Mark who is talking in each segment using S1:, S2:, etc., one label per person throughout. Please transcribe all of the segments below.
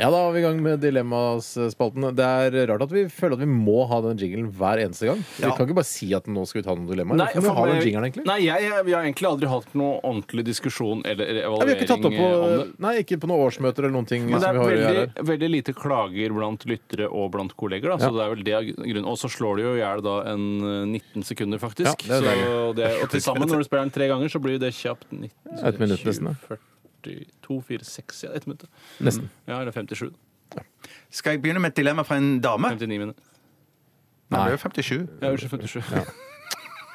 S1: Ja, da er vi i gang med Dilemmaspalten. Det er rart at vi føler at vi må ha den jinglen hver eneste gang. Vi
S2: Ja.
S1: kan ikke bare si at nå skal vi ta noen dilemmaer. Hvorfor må
S2: for
S1: vi ha den
S2: meg-
S1: jinglen, egentlig?
S2: Nei, jeg, jeg, vi har egentlig aldri hatt noe ordentlig diskusjon eller, eller
S1: Nei, vi
S2: evaluering
S1: har ikke tatt opp på,
S2: eh, om det.
S1: nei, ikke på noen årsmøter eller noen ting.
S2: Men det
S1: som
S2: er
S1: vi har å gjøre
S2: veldig,
S1: her.
S2: veldig lite klager blant lyttere og blant kolleger. Da. Så det er vel det er grunnen. Og så slår det jo i hjel da en eh, 19 sekunder,
S1: Ja,
S2: faktisk.
S1: det er
S2: så det er, og til sammen, når du spiller den tre ganger, så blir det kjapt 19
S1: Et minutt nesten, da.
S2: 42, 4, 6, ja, ett minutt.
S1: Nesten.
S2: Ja, eller 57.
S3: Skal jeg begynne med et dilemma fra en dame?
S2: 59 minutter.
S3: Nei, det er jo 57.
S2: Ja, unnskyld, 57.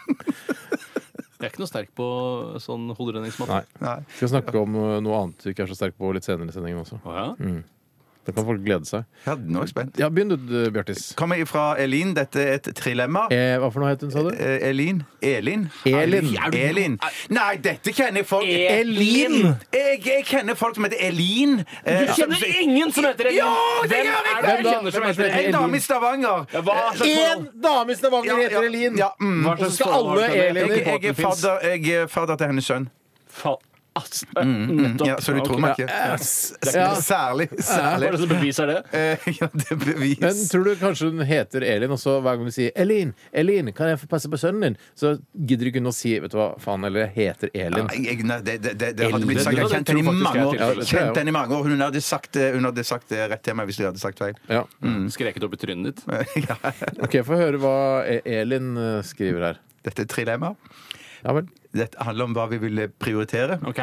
S2: Jeg er ikke noe sterk på sånn hoderedningsmåte.
S1: Nei.
S3: Nei.
S1: Vi skal snakke om eh, noe annet vi ikke er så sterke på litt senere i sendingen også.
S2: Å ja?
S1: Da kan folk glede seg.
S3: Ja, nå er jeg spent.
S1: Ja, begynn du, eh, Bjartis.
S3: Kommer ifra Elin. Dette er et trilemma.
S1: Eh, hva for noe het hun, sa du?
S3: Eh, Elin? Elin?
S1: Elin.
S3: Elin. Nei, dette kjenner jeg folk
S2: Elin.
S3: Jeg, jeg kjenner folk som heter Elin. Eh,
S2: Du kjenner ingen som heter Elin!
S3: Jo, det
S2: Hvem
S3: gjør vi!
S2: er det
S1: Hvem
S2: du
S1: da?
S2: kjenner
S1: Hvem
S2: som heter
S1: heter
S2: Elin?
S3: En dame i Stavanger. Eh,
S2: Ja, hva slags forhold?
S1: Én dame i Stavanger
S3: Ja, ja,
S1: heter Elin!
S3: ja, mm.
S1: Og
S2: Hva
S1: så
S2: slags
S1: skal
S2: forhold
S1: alle
S2: har du til henne?
S1: Eliner-
S3: Jeg, jeg, er fadder, jeg er fadder til hennes sønn.
S2: Fa- ass, eh, Nettopp.
S3: Ja, så du
S2: Ok.
S3: tror meg ikke?
S1: Ass. Ja.
S3: Særlig.
S2: Hva
S3: særlig.
S2: er det som beviser det?
S3: Eh, Ja, det er bevis.
S1: Men tror du kanskje hun heter Elin, og så hver gang du sier 'Elin, Elin, kan jeg få passe på sønnen din?' Så gidder ikke hun å si 'vet du hva, faen', eller 'jeg heter Elin'.
S3: Nei, jeg- nei, det, det, det, det hadde
S2: Elin.
S3: blitt sagt. Jeg
S2: Det
S3: har kjent
S2: tror
S3: henne i
S2: faktisk
S3: mange
S2: jeg er
S3: år.
S2: tilfellet.
S1: Ja,
S3: Kjent
S1: ja.
S3: henne i mange år. Hun hadde sagt, det- hun hadde sagt det rett til meg hvis jeg hadde sagt feil.
S1: Ja.
S2: Mm. Skreket opp i trynet ditt?
S3: Ja.
S1: OK, få høre hva E- Elin eh, skriver her.
S3: Dette er et trilemma.
S1: Ja vel.
S3: Dette handler om hva vi ville prioritere.
S2: Ok.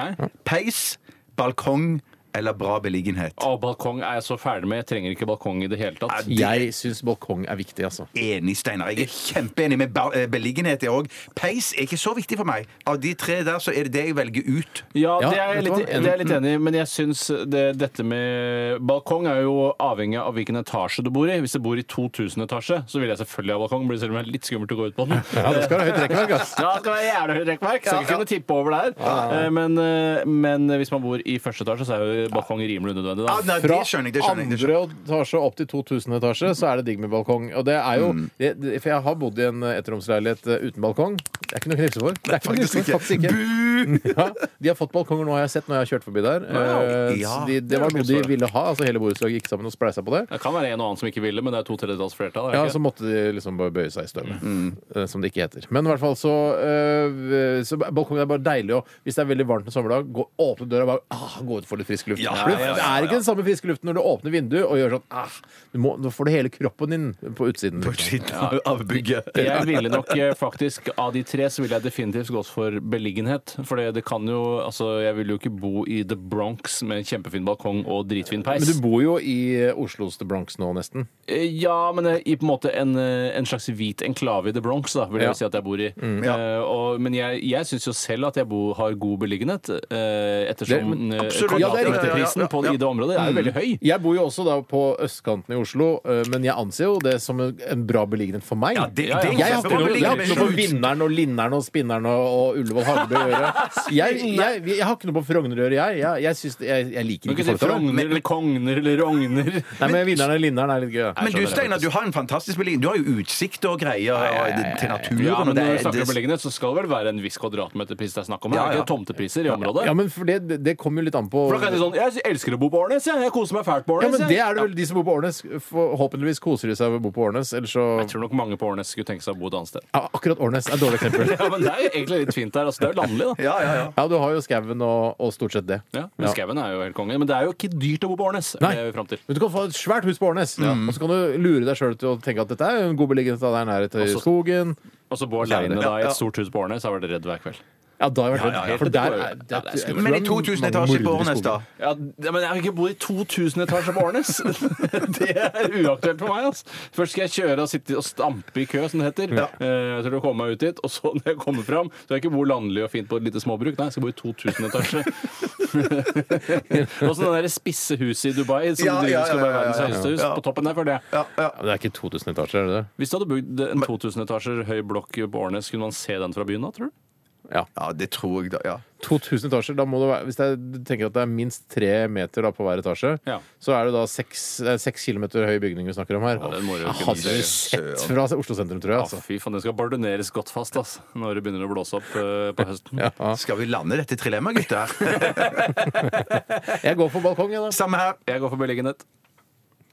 S3: Peis, balkong eller bra beliggenhet.
S2: Å, balkong er jeg så ferdig med. Jeg trenger ikke balkong i det hele tatt.
S1: Jeg syns balkong er viktig, altså.
S3: Enig, Steinar. Jeg er kjempeenig med ba- eh, beliggenhet, jeg òg. Peis er ikke så viktig for meg. Av de tre der, så er det det jeg velger ut.
S2: Ja,
S1: Ja,
S2: det er jeg
S1: vet du
S2: litt,
S1: hva?
S2: det er jeg litt enig i, men jeg syns det, dette med balkong er jo avhengig av hvilken etasje du bor i. Hvis du bor i 2000 etasje, så vil jeg selvfølgelig ha balkong, blir det selv om det er litt skummelt å gå ut på den.
S1: Ja, det skal ha høyt rekkverk, ass.
S2: Ja, det skal være jævlig høyt rekkverk. Skal ikke kunne tippe over der. Eh, Men, eh, men hvis man bor i første etasje, så er jo balkong rimelig unødvendig.
S3: Ah,
S2: Da.
S3: nei, det
S1: Fra
S3: skjønner jeg. Det skjønner jeg, det skjønner jeg.
S1: andre etasje opp til 2000 etasje, så er det digg med balkong. Og det er jo,
S3: Mm.
S1: det, det, For jeg har bodd i en eh, ettromsleilighet eh, uten balkong. Det er ikke noe å knipse for. Det er ikke noe å knipse for, faktisk ikke. Ja, de har fått balkonger nå, har jeg sett, når jeg har kjørt forbi der. Eh,
S3: Ja.
S1: så de, det var noe de ville ha. altså Hele borettslaget gikk sammen og spleisa på det.
S2: Det kan være en og annen som ikke ville, men det er to tredjedels flertall. er det
S1: Ja,
S2: ikke?
S1: så måtte de liksom bare bøye seg i støvet,
S3: Mm.
S1: eh, som det ikke heter. Men i hvert fall så, øh, så Balkongen er bare deilig. Og hvis det er veldig varmt en sommerdag, gå, åpne døra og bare ah, gå ut og få litt frisk luft.
S3: Ja,
S1: For
S3: ja, ja,
S1: Det
S3: ja,
S1: er ikke den samme friske luften når du åpner vinduet og gjør sånn ah, du må, Nå får du hele kroppen din på utsiden.
S3: På
S1: Liksom.
S3: siden av- av bygget.
S2: Jeg ville nok eh, faktisk Av de tre så ville jeg definitivt gått for beliggenhet. For det, det kan jo Altså, jeg ville jo ikke bo i The Bronx med en kjempefin balkong og dritfin peis.
S1: Men du bor jo i eh, Oslos The Bronx nå, nesten.
S2: Eh, Ja, men eh, i på en måte en, eh, en slags hvit enklave i The Bronx, da, vil jeg
S1: Ja.
S2: si at jeg bor i.
S3: ja.
S2: Eh, og, men jeg, jeg syns jo selv at jeg bo, har god beliggenhet, eh, ettersom
S1: Det-
S2: eh,
S3: absolutt.
S1: Ja, Mm. det er riktig.
S2: kvadratmeterprisen på
S3: Ja, ja, ja.
S2: i det området er jo veldig høy.
S1: Jeg bor jo også da på østkanten i Oslo, eh, men jeg anser jo det som en en bra beliggenhet for meg.
S3: Ja, det, det
S2: Ja, ja.
S3: er
S1: Jeg har ikke
S3: kjempebra
S1: noe, jeg har
S3: beliggenhet.
S1: ikke noe for Vinneren og Linneren og Spinneren og, og Ullevål Hageby å gjøre. Jeg, jeg, jeg har ikke noe på Frogner å gjøre, jeg. Jeg, jeg, syns- jeg, jeg
S2: Du
S1: liker
S2: kan ikke
S1: ikke
S2: si
S1: folk der. Nei,
S2: Frogner eller Kogner eller Rogner.
S1: men Vinneren og Linneren er litt gøy. da.
S3: Men du Steinar, du har en fantastisk beliggenhet. Du har jo utsikt og greier og det- til naturen.
S2: Ja, men
S3: og det
S2: når
S3: er-
S2: du snakker om
S3: det-
S2: beliggenhet, så skal det vel være en viss kvadratmeterpris det er snakk om?
S3: Ja,
S2: Det er
S3: ja.
S2: ikke tomtepriser i området?
S1: Ja, men for det, det kommer jo litt an på
S2: For da kan jeg si sånn, jeg elsker å bo på Årnes, jeg. Jeg koser meg fælt på
S1: ja,
S2: Årnes.
S1: men Det
S2: jeg.
S1: er det vel de som bor på Årnes. Forhåpentligvis koser de seg ved å bo på Årnes. Ellers så
S2: Jeg tror nok mange på Årnes skulle tenke seg å bo et annet sted.
S1: ja, Akkurat Årnes er et dårlig eksempel.
S2: Ja, men det er jo egentlig litt fint der. Altså, det er jo landlig, da.
S3: Ja, ja, ja.
S1: Ja, du har jo skauen og, og stort sett det.
S2: Ja, men Skauen er jo helt konge. Men det er jo ikke dyrt å bo på Årnes. er
S1: Nei.
S2: det vi er frem til.
S1: Men du kan få et svært hus på Årnes, og så kan du lure deg sjøl til å tenke at dette er jo en god beliggenhet, det er nærhet til
S2: Også-
S1: skogen.
S2: Og så Altså, bo
S1: så er det
S2: aleine
S1: det.
S2: da i
S3: Ja, ja.
S2: et stort hus på Årnes, så har jeg vært redd hver kveld.
S1: Ja, da har jeg vært redd.
S2: Ja, ja, ja.
S1: For der
S2: Ja,
S1: er,
S2: det er skummelt.
S3: Men sånn i 2000 etasje på Årnes, da?
S2: Ja, d- Men jeg vil ikke bo i 2000 etasjer på Årnes! Det er uaktuelt for meg. Altså. Først skal jeg kjøre og sitte og stampe i kø, som det heter. Eh, til å komme meg ut dit. Og så når jeg kommer fram, så skal jeg ikke bo landlig og fint på et lite småbruk. Nei, jeg skal bo i 2000 etasjer. og så det der spisse huset i Dubai som
S3: Ja,
S2: driver,
S3: ja,
S2: skal
S3: ja,
S2: være
S3: ja,
S2: verdens
S3: ja.
S2: høyeste hus.
S3: Ja.
S2: På toppen der, føler jeg.
S3: ja, ja.
S1: Det er ikke 2000 etasjer, er det det?
S2: Hvis du hadde bygd en 2000 etasjer høy blokk på Årnes, kunne man se den fra byen da, tror du?
S1: Ja.
S3: Ja, det tror jeg da. Ja.
S1: 2000 etasjer, da må det være Hvis jeg tenker at det er minst tre meter da, på hver etasje,
S2: Ja.
S1: så er det da seks, eh, seks kilometer høy bygning vi snakker om her.
S2: den må du jo
S1: Jeg
S2: kunne
S1: hadde
S2: se.
S1: sett fra Oslo sentrum, tror jeg.
S2: Ja,
S1: Altså.
S2: fy faen, det skal bardoneres godt fast ass, når det begynner å blåse opp eh, på høsten.
S3: Skal vi lande dette trilemmaet, gutter?
S1: Jeg går for balkong, jeg, da.
S3: Samme her.
S2: Jeg går for beliggenhet.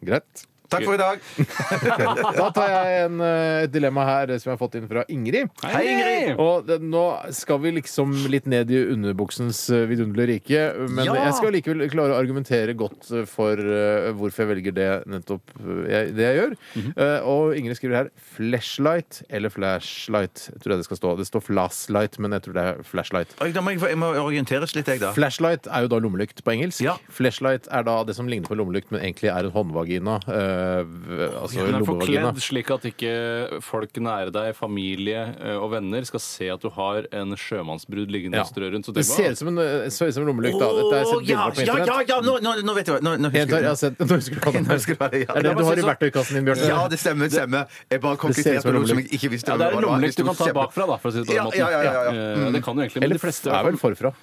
S1: Greit.
S3: Takk for i dag.
S1: Da tar jeg en, eh, et dilemma her eh, som jeg har fått inn fra Ingrid.
S2: Hei, Ingrid!
S1: Og det, nå skal vi liksom litt ned i underbuksens eh, vidunderlige rike. Men
S3: Ja!
S1: jeg skal likevel klare å argumentere godt eh, for eh, hvorfor jeg velger det nettopp eh, jeg, det jeg gjør.
S3: Mhm.
S1: Eh, og Ingrid skriver her 'flashlight' eller 'flashlight'. Jeg tror det skal stå. Det står 'flashlight', men jeg tror det er 'flashlight'.
S3: Oi, Da må jeg, få- jeg må orienteres litt, jeg, da.
S1: Flashlight er jo da lommelykt på engelsk.
S3: Ja.
S1: Flashlight er da det som ligner på lommelykt, men egentlig er en håndvagina. eh, v- altså
S2: Den er
S1: lommevagina.
S2: forkledd slik at ikke folk nære deg, familie eh, og venner, skal se at du har en sjømannsbrud liggende
S1: Ja.
S2: og strø rundt. Så
S1: Det
S2: tenk bare,
S1: ser ut som en, eh, ser ut som en lommelykt, da. Dette har jeg sett
S3: Å,
S1: bilder
S3: ja,
S1: av på
S3: ja,
S1: internett.
S3: ja, ja, nå, nå, nå vet jeg hva. Nå, nå
S1: Jeg
S3: husker
S1: tar, jeg
S3: jeg
S1: har sett, nå husker du hva den
S3: Nå husker
S1: er.
S3: jeg hva det er.
S1: Det er
S3: Ja,
S1: det du har i
S2: så-
S1: verktøykassen din, Bjørte.
S3: Ja, det stemmer. det stemmer.
S1: Det ser
S3: Jeg bare
S1: ut som
S3: konkluderte
S1: en
S3: noe som jeg
S1: lommelykt.
S3: ikke visste
S2: Ja, det er
S3: hva
S2: en
S3: var.
S2: lommelykt du kan ta
S3: Hvis
S2: bakfra, da, for å si det på den
S3: Ja,
S2: måten.
S3: ja, ja, ja, ja.
S2: Eh, Det kan du egentlig, men
S1: Eller
S2: de fleste
S1: er vel forfra.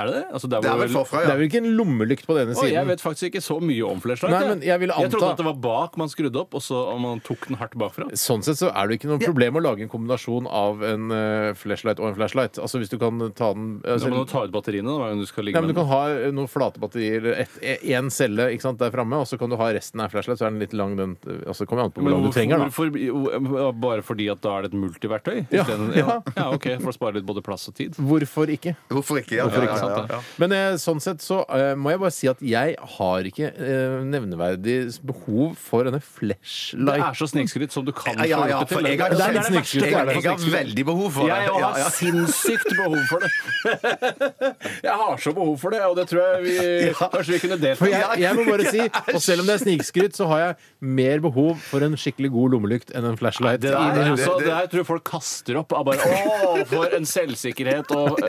S2: Er det det? Altså, der
S3: Det
S2: hvor
S3: er vel forfra,
S1: Det
S3: ja.
S1: er vel ikke en lommelykt på denne
S2: Å, jeg
S1: siden.
S2: vet faktisk ikke så mye om flashlight.
S1: Nei, men jeg ville anta-
S2: trodde at det var bak man skrudde opp, og så om man tok den hardt bakfra.
S1: Sånn sett så er det ikke noe problem å lage en kombinasjon av en eh, flashlight og en flashlight. Altså hvis du kan ta den
S2: Da
S1: altså,
S2: må du ta ut batteriene. Da, hver gang du skal
S1: Nei,
S2: ligge
S1: men Du
S2: med den.
S1: kan ha eh, noen flate batterier, én celle ikke sant, der framme, og så kan du ha resten av flashlight. Så er den litt lang, den altså, Kommer an på hvor
S2: Men
S1: lang du
S2: hvorfor,
S1: trenger, da.
S2: hvorfor, jo, bare fordi at da er det et multiverktøy?
S1: Ja,
S2: isteden- ja. ja, OK. For å spare litt både plass og tid.
S1: Hvorfor ikke?
S3: Hvorfor ikke? Ja,
S2: Hvorfor ikke,
S3: ja,
S2: sant,
S3: ja, ja.
S1: Men eh, sånn sett så eh, må jeg bare si at jeg har ikke eh, nevneverdig behov for denne
S2: Det
S1: flashlight.
S2: er så snikskryt som du kan
S3: Ja, ja, ja, for jeg har,
S1: Det er
S3: jeg,
S1: litt snikskryt, det er
S3: har,
S1: det.
S3: jeg har veldig behov for det.
S2: Jeg har
S3: Ja, ja.
S2: sinnssykt behov for det. Jeg har så behov for det, og det tror jeg vi kanskje vi kunne delt.
S1: For jeg, jeg må bare si, og selv om det er snikskryt, så har jeg mer behov for en skikkelig god lommelykt enn en flashlight.
S2: Det der,
S1: Inni her.
S2: altså, det her tror jeg folk kaster opp. av Bare, Å, for en selvsikkerhet og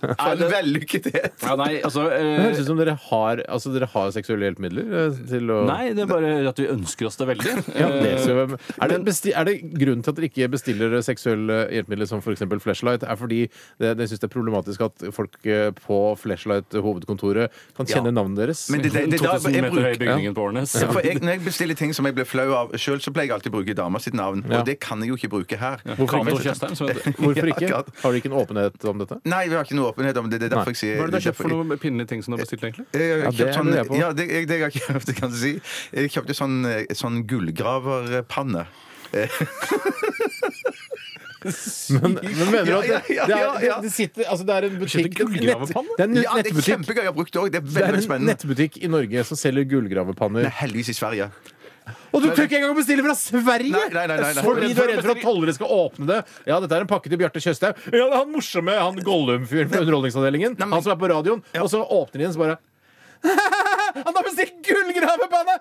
S3: For en vellykkethet.
S2: ja, Nei, altså
S1: Det
S2: eh,
S1: høres ut som dere har, altså, dere har seksuelle hjelpemidler eh, til å
S2: Nei, det er bare at vi ønsker oss det veldig. Eh,
S1: ja,
S3: eh,
S1: det skal jo- er, det besti er det grunnen til at dere ikke bestiller seksuelle hjelpemidler som f.eks. flashlight? Er fordi det- dere syns det er problematisk at folk eh, på flashlight-hovedkontoret kan kjenne navnet deres?
S3: Men det, det, det, da,
S2: 2000
S3: jeg
S2: meter høy
S3: bruker,
S2: bygningen på Årnes.
S3: for jeg, når jeg bestiller ting som jeg blir flau av sjøl, så pleier jeg alltid å bruke dama sitt navn.
S1: Ja.
S3: Og det kan jeg jo ikke bruke her.
S1: Hvorfor
S2: Cato
S1: ikke?
S2: Tjøstheim, som heter-
S1: Hvorfor
S3: Ja,
S1: ikke?
S3: akkurat.
S1: Har dere ikke en åpenhet om dette?
S3: Nei, vi har ikke noe åpenhet om det. Det er derfor jeg sier
S2: Hva er det du har kjøpt
S3: derfor-
S2: for noen pinlige ting som du har bestilt, egentlig?
S3: Jeg har
S1: Ja, det
S3: kjøpt sånn,
S1: lurer jeg på.
S3: ja, det, jeg, det jeg har kjøpt, det kan du si. Jeg kjøpte sånn, eh, sånn gullgraverpanne.
S1: Men, men mener du at det,
S3: Ja, ja,
S1: det,
S3: ja,
S1: er,
S3: ja.
S1: det, det sitter Altså, det er en butikk
S2: Kjøpte gullgravepanne?
S1: Det er en
S3: Ja, det er
S1: nettbutikk.
S3: kjempegøy. Jeg har brukt det òg. Det er
S1: Det
S3: veldig,
S1: er
S3: veldig
S1: en
S3: spennende.
S1: nettbutikk i Norge som selger gullgravepanner.
S3: Nei, heldigvis i Sverige.
S1: Og du tør ikke engang å bestille fra Sverige!
S3: Nei, nei, nei, nei, nei.
S1: Fordi du er redd for at tollere skal åpne det. Ja, dette er en pakke til Bjarte Tjøstheim. Ja, det er han morsomme han Gollum-fyren fra Underholdningsavdelingen.
S3: Nei, men-
S1: Han som er på radioen. Og så åpner de den, så bare han har bestilt gullgravepanne!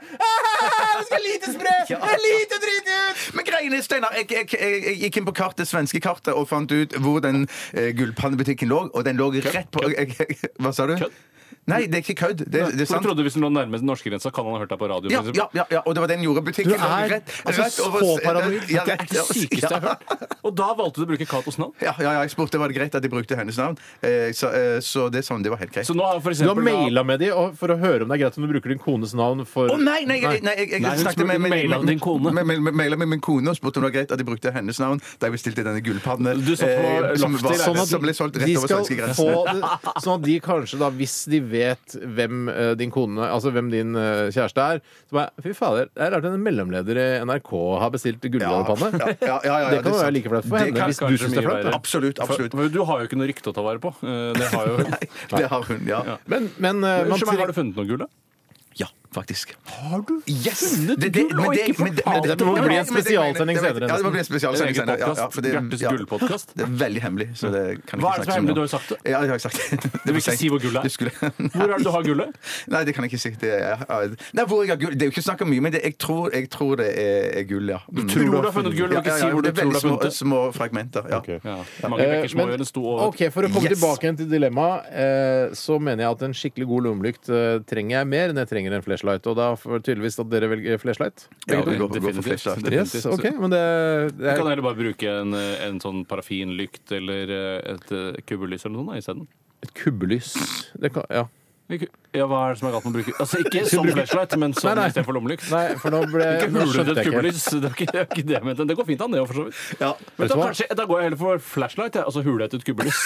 S1: Det skal lite spre! Det er lite drit ut!
S3: Men greiene, Steinar, jeg, jeg, jeg, jeg gikk inn på kartet, svenske kartet og fant ut hvor den eh, gullpannebutikken lå, og den lå rett på jeg, jeg, Hva sa du?
S2: Kødd.
S3: Nei, det er ikke kødd. Det, det er
S2: Folk
S3: sant.
S2: trodde hvis den lå nærmest norskegrensa, kan han ha hørt deg på radio.
S3: Ja,
S2: for eksempel.
S3: ja, ja, ja, og det var den jordbutikken.
S1: Liksom. Du er
S3: rett,
S1: altså
S3: rett over-
S1: så paranoid.
S3: Ja,
S2: Det er det sykeste jeg har hørt. Og da valgte du å bruke Katos navn.
S3: Ja, ja, ja, jeg spurte var det greit at jeg brukte hennes navn. Eh, så, eh, så det, er sånn, det var helt greit.
S2: Så nå har for
S1: Du har
S2: eksempel da-
S1: maila med de og- for å høre om det er greit om du bruker din kones navn for
S3: Å nei, nei, jeg, nei, jeg, jeg
S2: Nei, hun
S3: snakket
S2: spurte
S3: med, med,
S2: maila
S3: med,
S2: om din kone.
S3: med, med, med, maila med min kone og spurte om det var greit at jeg brukte hennes navn da jeg bestilte denne gullpannen eh,
S2: Du så på
S3: som,
S2: loftet i
S3: var-
S2: leiligheten.
S1: Sånn at
S3: som ble solgt rett
S1: de
S3: over
S1: skal
S3: svenskegrensen.
S1: få det, sånn at de kanskje, da, hvis de vet hvem eh, din kone Altså hvem din eh, kjæreste er Så bare, Fy fader, det er rart en mellomleder i NRK har bestilt gullgravepanne.
S3: Ja, ja, ja, ja, ja,
S1: det
S3: det
S1: kan
S3: er
S1: jo
S3: sant.
S1: være like flaut for
S3: Det
S1: henne
S3: kan
S1: hvis du
S2: kanskje
S1: syns det er
S2: mye
S1: flaut.
S2: verre.
S1: da.
S3: Absolutt. absolutt.
S2: For Du har jo ikke noe rykte å ta vare på. Eh, Det har jo...
S3: Det har hun, ja.
S1: Men, men eh, man
S2: Unnskyld meg,
S1: trenger-
S2: har du funnet noe gull, da?
S3: Ja, faktisk.
S2: Har du?
S3: Yes!
S2: Funnet gull og ikke fortalt
S1: det må
S2: om
S1: bli en
S2: det?
S3: men det- men det-
S1: spesialsending
S3: men det-
S1: senere,
S3: Ja, det må bli en
S2: En egen
S3: spesialsending senere. Ja, ja,
S2: podcast,
S3: for det-
S2: Bjartes
S3: ja.
S2: gullpodcast.
S3: Det er veldig hemmelig. Så det
S2: Hva er det
S3: kan jeg ikke snakke
S2: som er hemmelig?
S3: så mye om.
S2: Du har jo sagt det.
S3: Ja, det har jeg sagt. Det
S2: vil ikke si hvor gullet er.
S3: Det skulle...
S2: Hvor er det du har gullet?
S3: Nei, det kan jeg ikke si. Det er, nei, hvor jeg har gull Det er jo ikke snakk om mye, men det, jeg, tror, jeg tror det er, er gull, ja. Mm.
S2: Tror du har funnet gull, og ikke si hvor du tror du
S3: det er veldig
S2: har funnet
S3: små,
S2: det?
S3: små fragmenter. Ja.
S1: Ok.
S2: Ja, mange
S1: Eh,
S2: bekker små gjør en stor over.
S1: ok, For å komme
S3: Yes.
S1: tilbake igjen til dilemmaet, eh, så mener jeg at en skikkelig god lommelykt eh, trenger jeg mer enn jeg trenger en flashlight. Og da får tydeligvis at dere velger flashlight.
S3: Ja, vi går, vi går for flashlight.
S1: Yes, OK. Men det, det
S2: Du
S1: er
S2: kan heller bare bruke en, eh, en sånn parafinlykt eller eh, et eh, kubbelys eller noe sånt da, isteden.
S1: et kubbelys. Det kan, ja.
S2: Ikke- Ja, hva er det som er galt med å bruke Altså ikke som flashlight, men som
S1: Nei, nei.
S2: istedenfor lommelykt.
S1: Nei, for nå ble
S2: Ikke
S1: nå
S2: huler
S1: skjønte
S2: du
S1: jeg ikke
S2: et
S1: helt.
S2: kubbelys. Det er ikke, det er ikke det jeg mente. Det går fint an, det òg, for så vidt.
S3: Ja.
S2: Men
S1: Vet
S2: da,
S1: du hva?
S2: kanskje, da går jeg heller for flashlight, jeg. altså hule etter et kubbelys.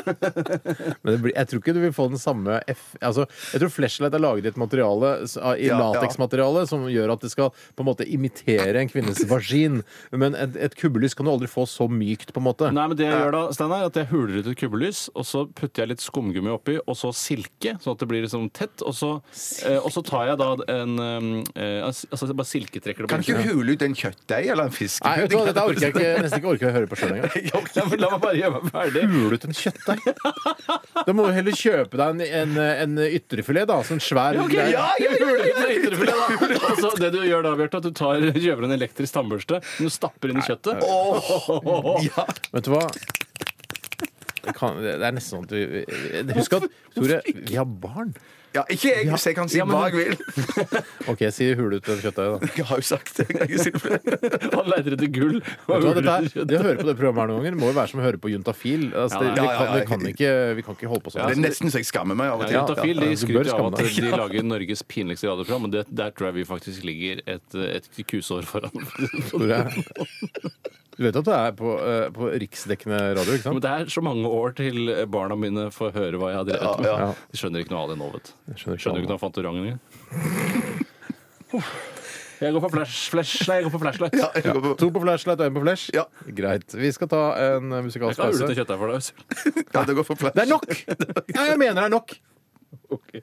S1: Men det blir, jeg tror ikke du vil få den samme F... Altså, jeg tror flashlight er laget i et materiale s- av- i
S3: Ja, ja.
S1: lateksmateriale som gjør at det skal på en måte imitere en kvinnes vagin. Men et, et kubbelys kan du aldri få så mykt, på en måte.
S2: Nei, men det jeg gjør da, Steinar, er at jeg huler ut et kubbelys, og så putter jeg litt skumgummi oppi, og så silke, sånn at det blir liksom tett, og så, eh, og så tar jeg da en eh, Altså jeg bare silketrekker det
S3: Kan ikke
S2: bort.
S3: hule ut en kjøttdeig eller en fisk?
S1: Nei, vet du hva, dette orker jeg ikke, nesten ikke orker å høre på sjøl engang.
S2: Ja, men La meg bare gjøre meg ferdig.
S1: Huler ut en kjøttdeig? Da må du heller kjøpe deg en, en, en ytrefilet, da. Sånn svær
S2: Ja, ok,
S1: greie.
S2: ja, ja, ja, ja, ja, ytrefilet, da. Og så Altså, det du gjør da, Bjarte, at du tar, kjøper en elektrisk tannbørste, men du stapper inn i kjøttet.
S3: Ja.
S1: Vet du hva? Det, kan, det er nesten sånn at du Husk at Tore, vi har barn.
S3: ja, ikke jeg, så jeg kan si
S2: Ja, men-
S3: hva jeg vil.
S1: OK, si hule ut en kjøttdeig, da.
S3: Jeg har jo sagt det. Jeg har ikke sagt det.
S2: Han leter etter gull.
S1: Vet
S2: og
S1: du hva,
S2: huler
S1: dette
S2: etter
S1: er, det å høre på det programmet her noen ganger må jo være som å høre på juntafil. Altså, det,
S2: Ja,
S1: vi,
S3: ja,
S1: kan,
S3: ja,
S1: vi, kan ikke, vi kan ikke holde på
S3: Det er
S1: sånn.
S3: nesten så jeg skammer meg av og til.
S2: Ja, Juntafil
S1: ja,
S2: de
S1: du bør
S2: skryter av
S1: skamme
S2: at
S1: deg.
S2: de lager Norges pinligste radioprogram, men det, der tror jeg vi faktisk ligger et, et kusår foran.
S1: Tore. Du vet at du er på, eh, på riksdekkende radio, ikke
S2: Men
S1: sant?
S2: det er så mange år til barna mine får høre hva jeg har drevet med. De skjønner ikke noe av det nå, vet du.
S1: Skjønner
S2: Skjønner ikke
S1: ikke
S2: noe av Fantorangen engang. Jeg går for flash, flash, nei, jeg går for flashlight.
S3: Ja, jeg går på-
S1: To på flashlight og én på flash?
S3: Ja.
S1: Greit. Vi skal ta en eh,
S2: Jeg
S1: musikalsk
S2: kan hule
S1: pause.
S2: til kjøttdeig for deg.
S3: ja, det går for plass.
S1: Det er nok! Ja, jeg mener det er nok.